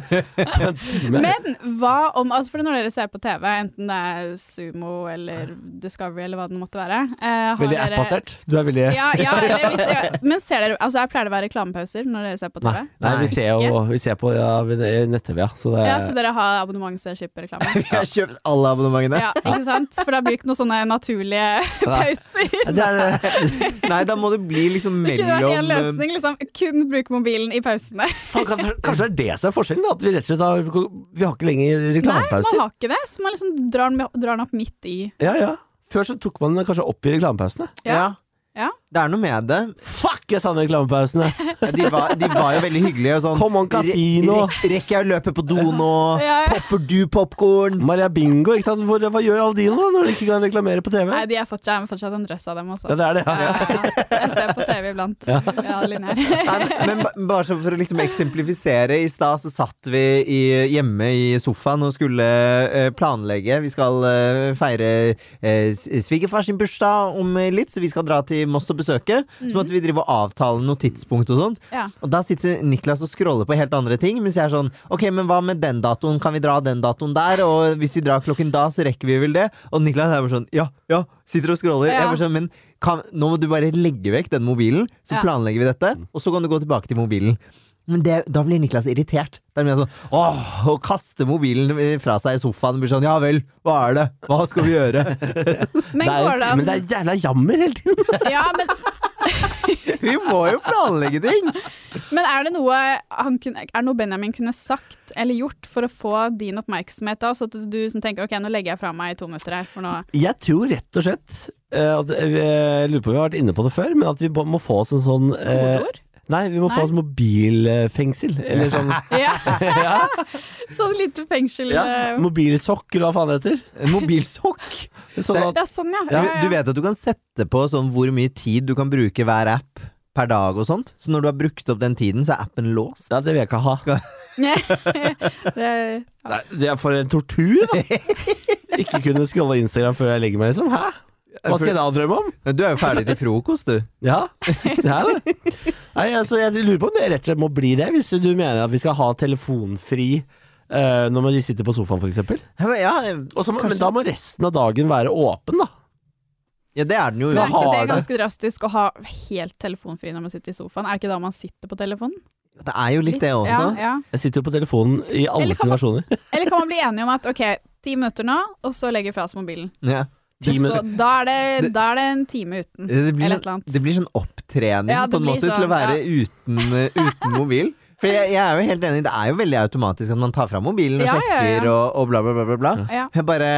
En time.
Men hva om altså For når dere ser på TV, enten det er Sumo eller Discovery eller hva det måtte være eh, har
Veldig
dere-
app-basert. Du er veldig
Ja, ja, eller hvis, ja. Men ser dere Altså, jeg pleier det å være reklamepauser når dere ser på TV.
Nei, nei, vi ser jo vi ser på ja, vi- i nett-TV, ja. Så det
Ja, så dere har abonnement så dere slipper reklame?
Jeg har kjøpt alle abonnementene.
Ja, ikke sant? For da blir det ikke noen sånne naturlige pauser.
Ja, det er,
Nei, da må det bli liksom
Det kunne vært én
mellom eh,
løsning, liksom. Kun bruke mobilen i pausene.
faen, kan- kanskje det er det som er forskjellen? da, At vi rett og slett har, vi har ikke lenger
Nei, man
reklamepauser.
har ikke det. Så man liksom drar den, drar den opp midt i.
Ja, ja. Før så tok man den kanskje opp i reklamepausene.
Ja. Ja.
eh, Det er noe med det.
Fuck, jeg savner reklamepausene!
Ja, de, var, de var jo veldig hyggelige. og Sånn,
Come on, kasino.
Re, re, rekker jeg å løpe på do nå?
Ja, ja.
Popper du popkorn?
Maria Bingo, ikke sant? Hvor, hva gjør Aldino da, når de ikke kan reklamere på TV?
Nei, de er fortsatt, fortsatt en drøss av dem, altså.
Ja, det er det, ja.
Ja, ja. Jeg ser på TV iblant. Ja, linær.
Nei, men ba- bare så for å liksom eksemplifisere. I stad så satt vi i, hjemme i sofaen og skulle eh, planlegge. Vi skal eh, feire eh, s- svigerfar sin bursdag om eh, litt, så vi skal dra til Moss og besøke. Så måtte vi drive og avtale noe tidspunkt og sånt.
Ja.
Og da sitter Niklas og scroller på helt andre ting, mens jeg er sånn Ok, men hva med den datoen? Kan vi dra den datoen der? Og hvis vi drar klokken da, så rekker vi vel det? Og Niklas er bare sånn Ja, ja. Sitter og scroller. Jeg
Ja.
er bare sånn, men kan, nå må du bare legge vekk den mobilen, så
Ja.
planlegger vi dette, og så kan du gå tilbake til mobilen. Men det, da blir Niklas irritert. Da blir han sånn Åh, å kaste mobilen fra seg i sofaen og blir sånn Ja vel, hva er det? Hva skal vi gjøre?
Men
Det er,
går det
jo-
an
men det er jævla jammer hele tiden!
ja, men,
Vi må jo planlegge ting!
men er det noe han kunne, Er det noe Benjamin kunne sagt eller gjort for å få din oppmerksomhet da? Så at du som tenker OK, nå legger jeg fra meg i to minutter her, for nå
Jeg tror rett og slett eh, at, eh, Jeg lurer på om vi har vært inne på det før, men at vi må- må få oss en sånn eh,
Kodeord?
Nei, vi må
Nei.
få oss mobilfengsel. Eller sånn
Ja,
ja,
sånn lite fengsel.
ja.
eh,
Mobilsokk, eller hva faen det heter.
En Mobilsokk!
Sånn at
Ja, sånn, ja.
Ja,
Du,
ja, ja.
du vet at du kan sette på sånn hvor mye tid du kan bruke hver app per dag og sånt. Så når du har brukt opp den tiden, så er appen låst.
ja, det vil jeg ikke ha.
det,
Nei, det er for en tortur, da! Ikke kunne scrolle Instagram før jeg legger meg, liksom. Hæ? Hva skal jeg da drømme om?
Du er jo ferdig til frokost, du.
Ja, det er det. Nei, altså, jeg lurer på om det rett og slett må bli det, hvis du mener at vi skal ha telefonfri eh, når man sitter på sofaen, f.eks.
Ja, men Ja,
Men da må resten av dagen være åpen, da.
ja det er den jo.
det, er,
har
det er
det.
ganske drastisk å ha helt telefonfri når man sitter i sofaen. Er det ikke da man sitter på telefonen?
Det er jo litt det
Ja,
også.
ja.
Jeg sitter jo på telefonen i alle
Eller kan man-
situasjoner.
Eller kan man bli enige om at ok, ti minutter nå, og så legger vi fra oss mobilen.
Ja.
Ti
Så
minutter.
da er det, da er det en time uten.
Det, blir sånn,
Eller et eller annet.
det blir sånn opptrening
Ja, det
på en
blir
måte til å
sånn,
være uten, eh, uten mobil. For jeg, jeg er jo helt enig, det er jo veldig automatisk at man tar fram mobilen og
Ja, ja,
sjekker
ja.
Og, og bla, bla, bla. bla, bla.
Ja.
Jeg bare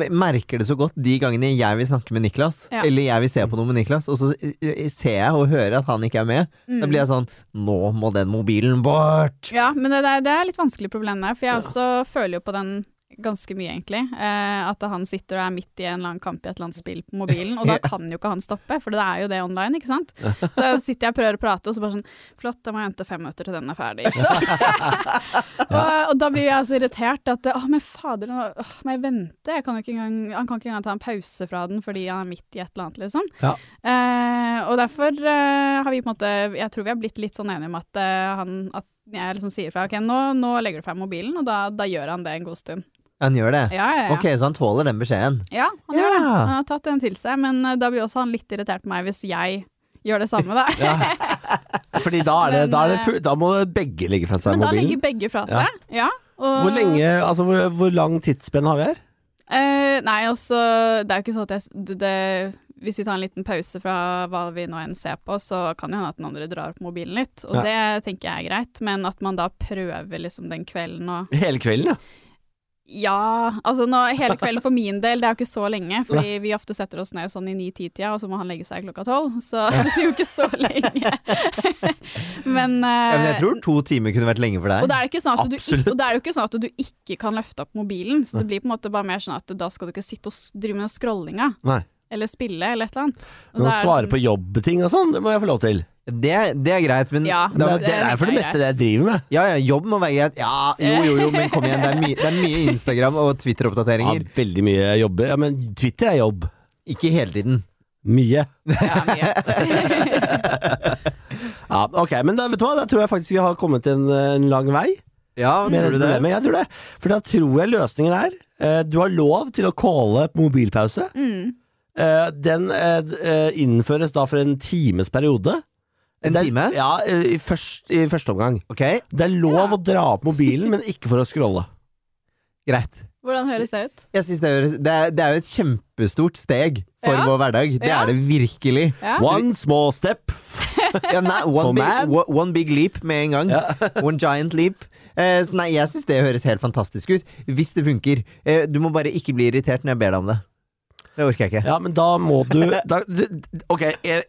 me- merker det så godt de gangene jeg vil snakke med Niklas,
Ja.
eller jeg vil se på noe med Niklas, og så eh, ser jeg og hører at han ikke er med. Da blir jeg
Mm.
sånn Nå må den mobilen bort!
Ja, men det, der- det er litt vanskelig problem der, for jeg også føler jo på den ganske mye, egentlig. Eh, at han sitter og er midt i en eller annen kamp i et eller annet spill på mobilen, og da kan jo ikke han stoppe, for det er jo det online, ikke sant? Så sitter jeg og prøver å prate, og så bare sånn Flott, da må jeg vente fem minutter til den er ferdig. Så. og, og da blir jeg så irritert at Å, men fader, nå åh, må jeg vente? Jeg kan jo ikke engang, han kan ikke engang ta en pause fra den fordi han er midt i et eller annet, liksom.
Ja.
Eh, og derfor eh, har vi på en måte Jeg tror vi har blitt litt sånn enige om at eh, han at jeg liksom sier fra ok, nå, nå legger du frem mobilen, og da, da gjør han det en god stund.
Han gjør det.
Ja, ja, ja.
Ok, så han tåler den beskjeden.
ja han gjør
Ja.
det. Han har tatt den til seg, men eh, da blir også han litt irritert på meg hvis jeg gjør det samme, da.
Fordi da, er det,
Men,
da, er det,
eh,
full- da må begge legge fra seg
men da
mobilen.
legger begge fra seg. Ja. og-
Hvor lenge, altså hvor, hvor lang tidsspenn har vi her?
Eh, nei, altså, det er jo ikke sånn at jeg s- det, det, Hvis vi tar en liten pause fra hva vi nå enn ser på, så kan det hende at den andre drar opp mobilen litt, og
Ja.
det tenker jeg er greit, men at man da prøver liksom den kvelden å
Hele kvelden, ja.
Ja, altså nå, hele kvelden for min del, det er jo ikke så lenge, fordi vi ofte setter oss ned sånn i 9-10-tida, og så må han legge seg klokka tolv, så det blir jo ikke så lenge. men,
Ja,
eh,
men jeg tror to timer kunne vært lenge for
og
deg.
det, er ikke sånn at du,
Absolutt.
ikke- og det er jo ikke sånn at du ikke kan løfte opp mobilen, så det blir på en måte bare mer sånn at da skal du ikke sitte og s- drive med scrollinga,
Nei.
eller spille, eller et eller annet. Og
Men å
da er sånn
svare
det
på jobbting og sånn, det må jeg få lov til.
Det, det er greit, men
Ja,
Det,
da,
er- det er for det meste det jeg driver med.
Ja, ja, jobb må være greit. Ja, jo, jo, jo, men kom igjen. Det er, mye- det er mye Instagram og
Ja,
Twitter-oppdateringer.
veldig mye jobber. Ja, men Twitter er jobb.
Ikke hele tiden.
Mye.
sånn, ja, mye.
Ja, ok, men da, vet du hva? da tror jeg faktisk vi har kommet en, en lang vei.
Ja,
med
tror
dette
du det?
problemet. Jeg tror det. For da tror jeg løsningen er eh, du har lov til å calle på mobilpause.
Mm.
Eh, den eh, d- eh, innføres da for en times periode.
En
Det er-
time?
Ja, eh, i, først, i første omgang.
Ok,
Det er lov å dra opp mobilen, men ikke for å scrolle.
greit.
Hvordan høres det ut?
Jeg synes det, høres- det, er, det er jo et kjempestort steg for
Ja.
vår hverdag. Det
Ja.
er det virkelig.
Ja.
One small step.
Ja, nei,
For
one,
man.
big, one- one big leap med en gang. one giant leap. Eh, så nei, jeg syns det høres helt fantastisk ut. Hvis det funker. Eh, du må bare ikke bli irritert når jeg ber deg om det. Det orker jeg ikke.
Ja, men da må du da, d- d- Ok,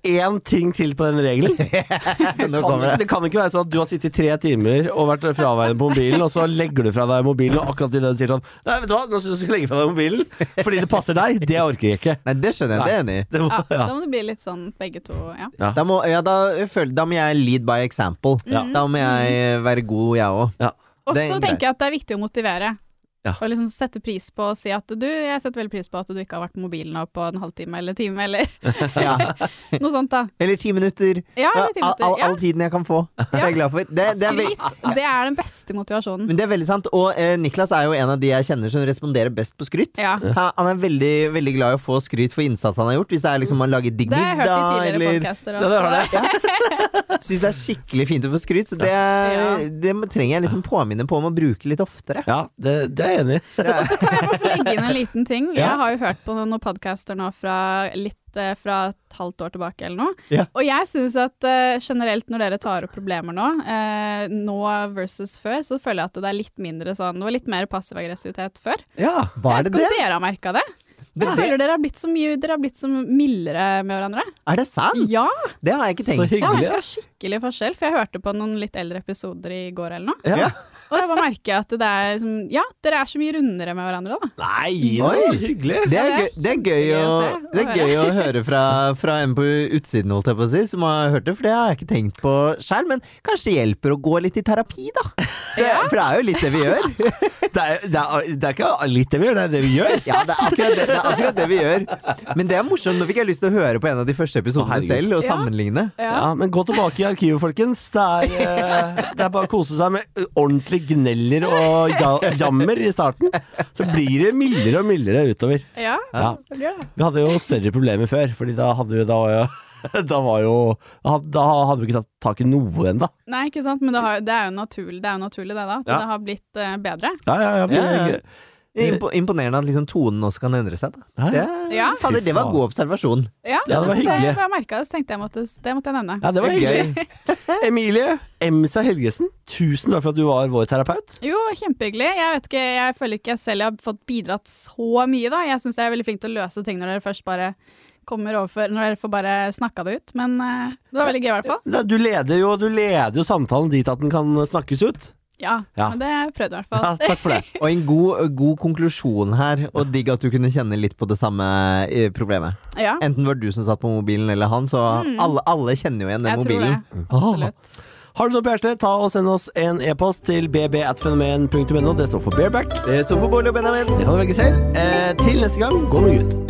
én ting til på den regelen.
Nå
Kan,
kommer det.
det kan ikke være sånn at du har sittet i tre timer og vært fraværende på mobilen, og så legger du fra deg mobilen, og akkurat idet du sier sånn Nei, vet du hva, nå syns jeg du skal legge fra deg mobilen fordi det passer deg. Det orker jeg ikke.
Nei, det skjønner jeg. Det er jeg enig i.
Det må,
Ja,
ja.
da må det bli litt sånn begge to, ja.
Da må, ja, da, føl- da må jeg lead by example.
Ja.
Da må jeg eh, være god, jeg òg.
Ja.
Og
Det er
så
greit.
tenker jeg at det er viktig å motivere.
Ja.
Og liksom sette pris på å si at du, jeg setter veldig pris på at du ikke har vært på mobilen nå på en halvtime eller time, eller
Ja.
noe sånt da.
Eller ti minutter.
Ja, eller ti
all,
minutter.
all,
Ja.
all tiden jeg kan få. Det er jeg glad for. Det, det er veld-
Skryt, det er den beste motivasjonen.
men det er veldig sant. Og eh, Niklas er jo en av de jeg kjenner som responderer best på skryt.
Ja.
Han han er veldig, veldig glad i å få skryt for innsats han har gjort. Hvis det er liksom han lager digg
Det har jeg hørt i
middag,
tidligere
eller
podcaster
Ja, det har det.
syns det er skikkelig fint å få skryt. Så det,
Ja.
det må- trenger jeg liksom påminne på om å bruke litt oftere.
Ja, det, det er jeg enig i.
legge inn en liten ting.
Ja.
Jeg har jo hørt på noen podcaster nå fra litt eh, fra et halvt år tilbake eller noe.
Ja.
Og jeg synes at eh, generelt når dere tar opp problemer nå, eh, nå versus før, så føler jeg at det er litt mindre sånn, det var litt mer passiv aggressivitet før.
Ja,
Hva er
jeg
det
vet ikke
det?
om dere har merket det?
Det,
Jeg
det,
føler dere har blitt så mye Dere har blitt så mildere med hverandre.
er det sant?
Ja,
Det har jeg ikke
Så
tenkt.
jeg
hyggelig.
merka skikkelig forskjell, for jeg hørte på noen litt eldre episoder i går eller noe.
Ja.
Ja.
Og jeg bare merker at det er som Ja, dere er så mye rundere med hverandre, da.
Nei,
Oi.
så hyggelig.
Det er,
Ja,
gøy, det, er gøy å,
kjempegøy å se og
det er gøy å høre fra, fra en på utsiden, holdt jeg på å si, som har hørt det, for det har jeg ikke tenkt på sjøl. Men kanskje det hjelper å gå litt i terapi, da. Det, for det er jo litt det vi gjør.
Det er, det, er, det er ikke litt det vi gjør, det er det vi gjør.
Ja, det er akkurat det, det, er akkurat det vi gjør. Men det er morsomt. Nå fikk jeg lyst til å høre på en av de første
Å,
episodene
herregud.
selv og
Ja.
sammenligne.
Ja, Men gå tilbake i arkivet, folkens. Det er, eh, det er bare å kose seg med ordentlig gneller og ja, jammer i starten. Så blir det mildere og mildere utover.
Ja,
Ja.
det blir det.
Vi hadde jo større problemer før, Fordi da hadde vi da var jo, da var jo Da hadde vi ikke tatt tak i noe ennå.
Nei, ikke sant, men det, har, det, er, jo naturlig, det er jo naturlig det, da. At
Ja.
det har blitt eh, bedre.
Ja, ja, ja, vi-
Ja, ja. Impo imponerende at liksom tonen også kan endre seg, da.
Hæ?
Det,
Ja.
fader, det var god observasjon.
Ja,
Ja,
det var
så
hyggelig.
jeg merket det, så tenkte jeg måtte, det måtte jeg nevne.
ja, det var hyggelig. Emilie Emsa Helgesen, tusen takk for at du var vår terapeut.
Jo, kjempehyggelig. Jeg vet ikke, jeg føler ikke jeg selv har fått bidratt så mye, da. Jeg syns jeg er veldig flink til å løse ting når dere først bare kommer overfor Når dere får bare snakka det ut. Men eh, det var veldig gøy, i hvert fall.
Da, Du leder jo, du leder jo samtalen dit at den kan snakkes ut.
Ja,
Ja.
men det prøvde jeg i hvert
Ja,
fall.
takk for det.
Og en god, god konklusjon her, og digg at du kunne kjenne litt på det samme eh, problemet.
Ja, Mm.
Enten var det du som satt på mobilen eller han, så alle, alle kjenner jo igjen den
jeg tror det.
mobilen.
Absolutt.
Har du noe på hjertet, ta og send oss en e-post til bb.fenomen.no. Det står for bareback.
Det står for Bård og Benjamin.
Det kan du velge selv. Eh, til neste gang, gå med Gud.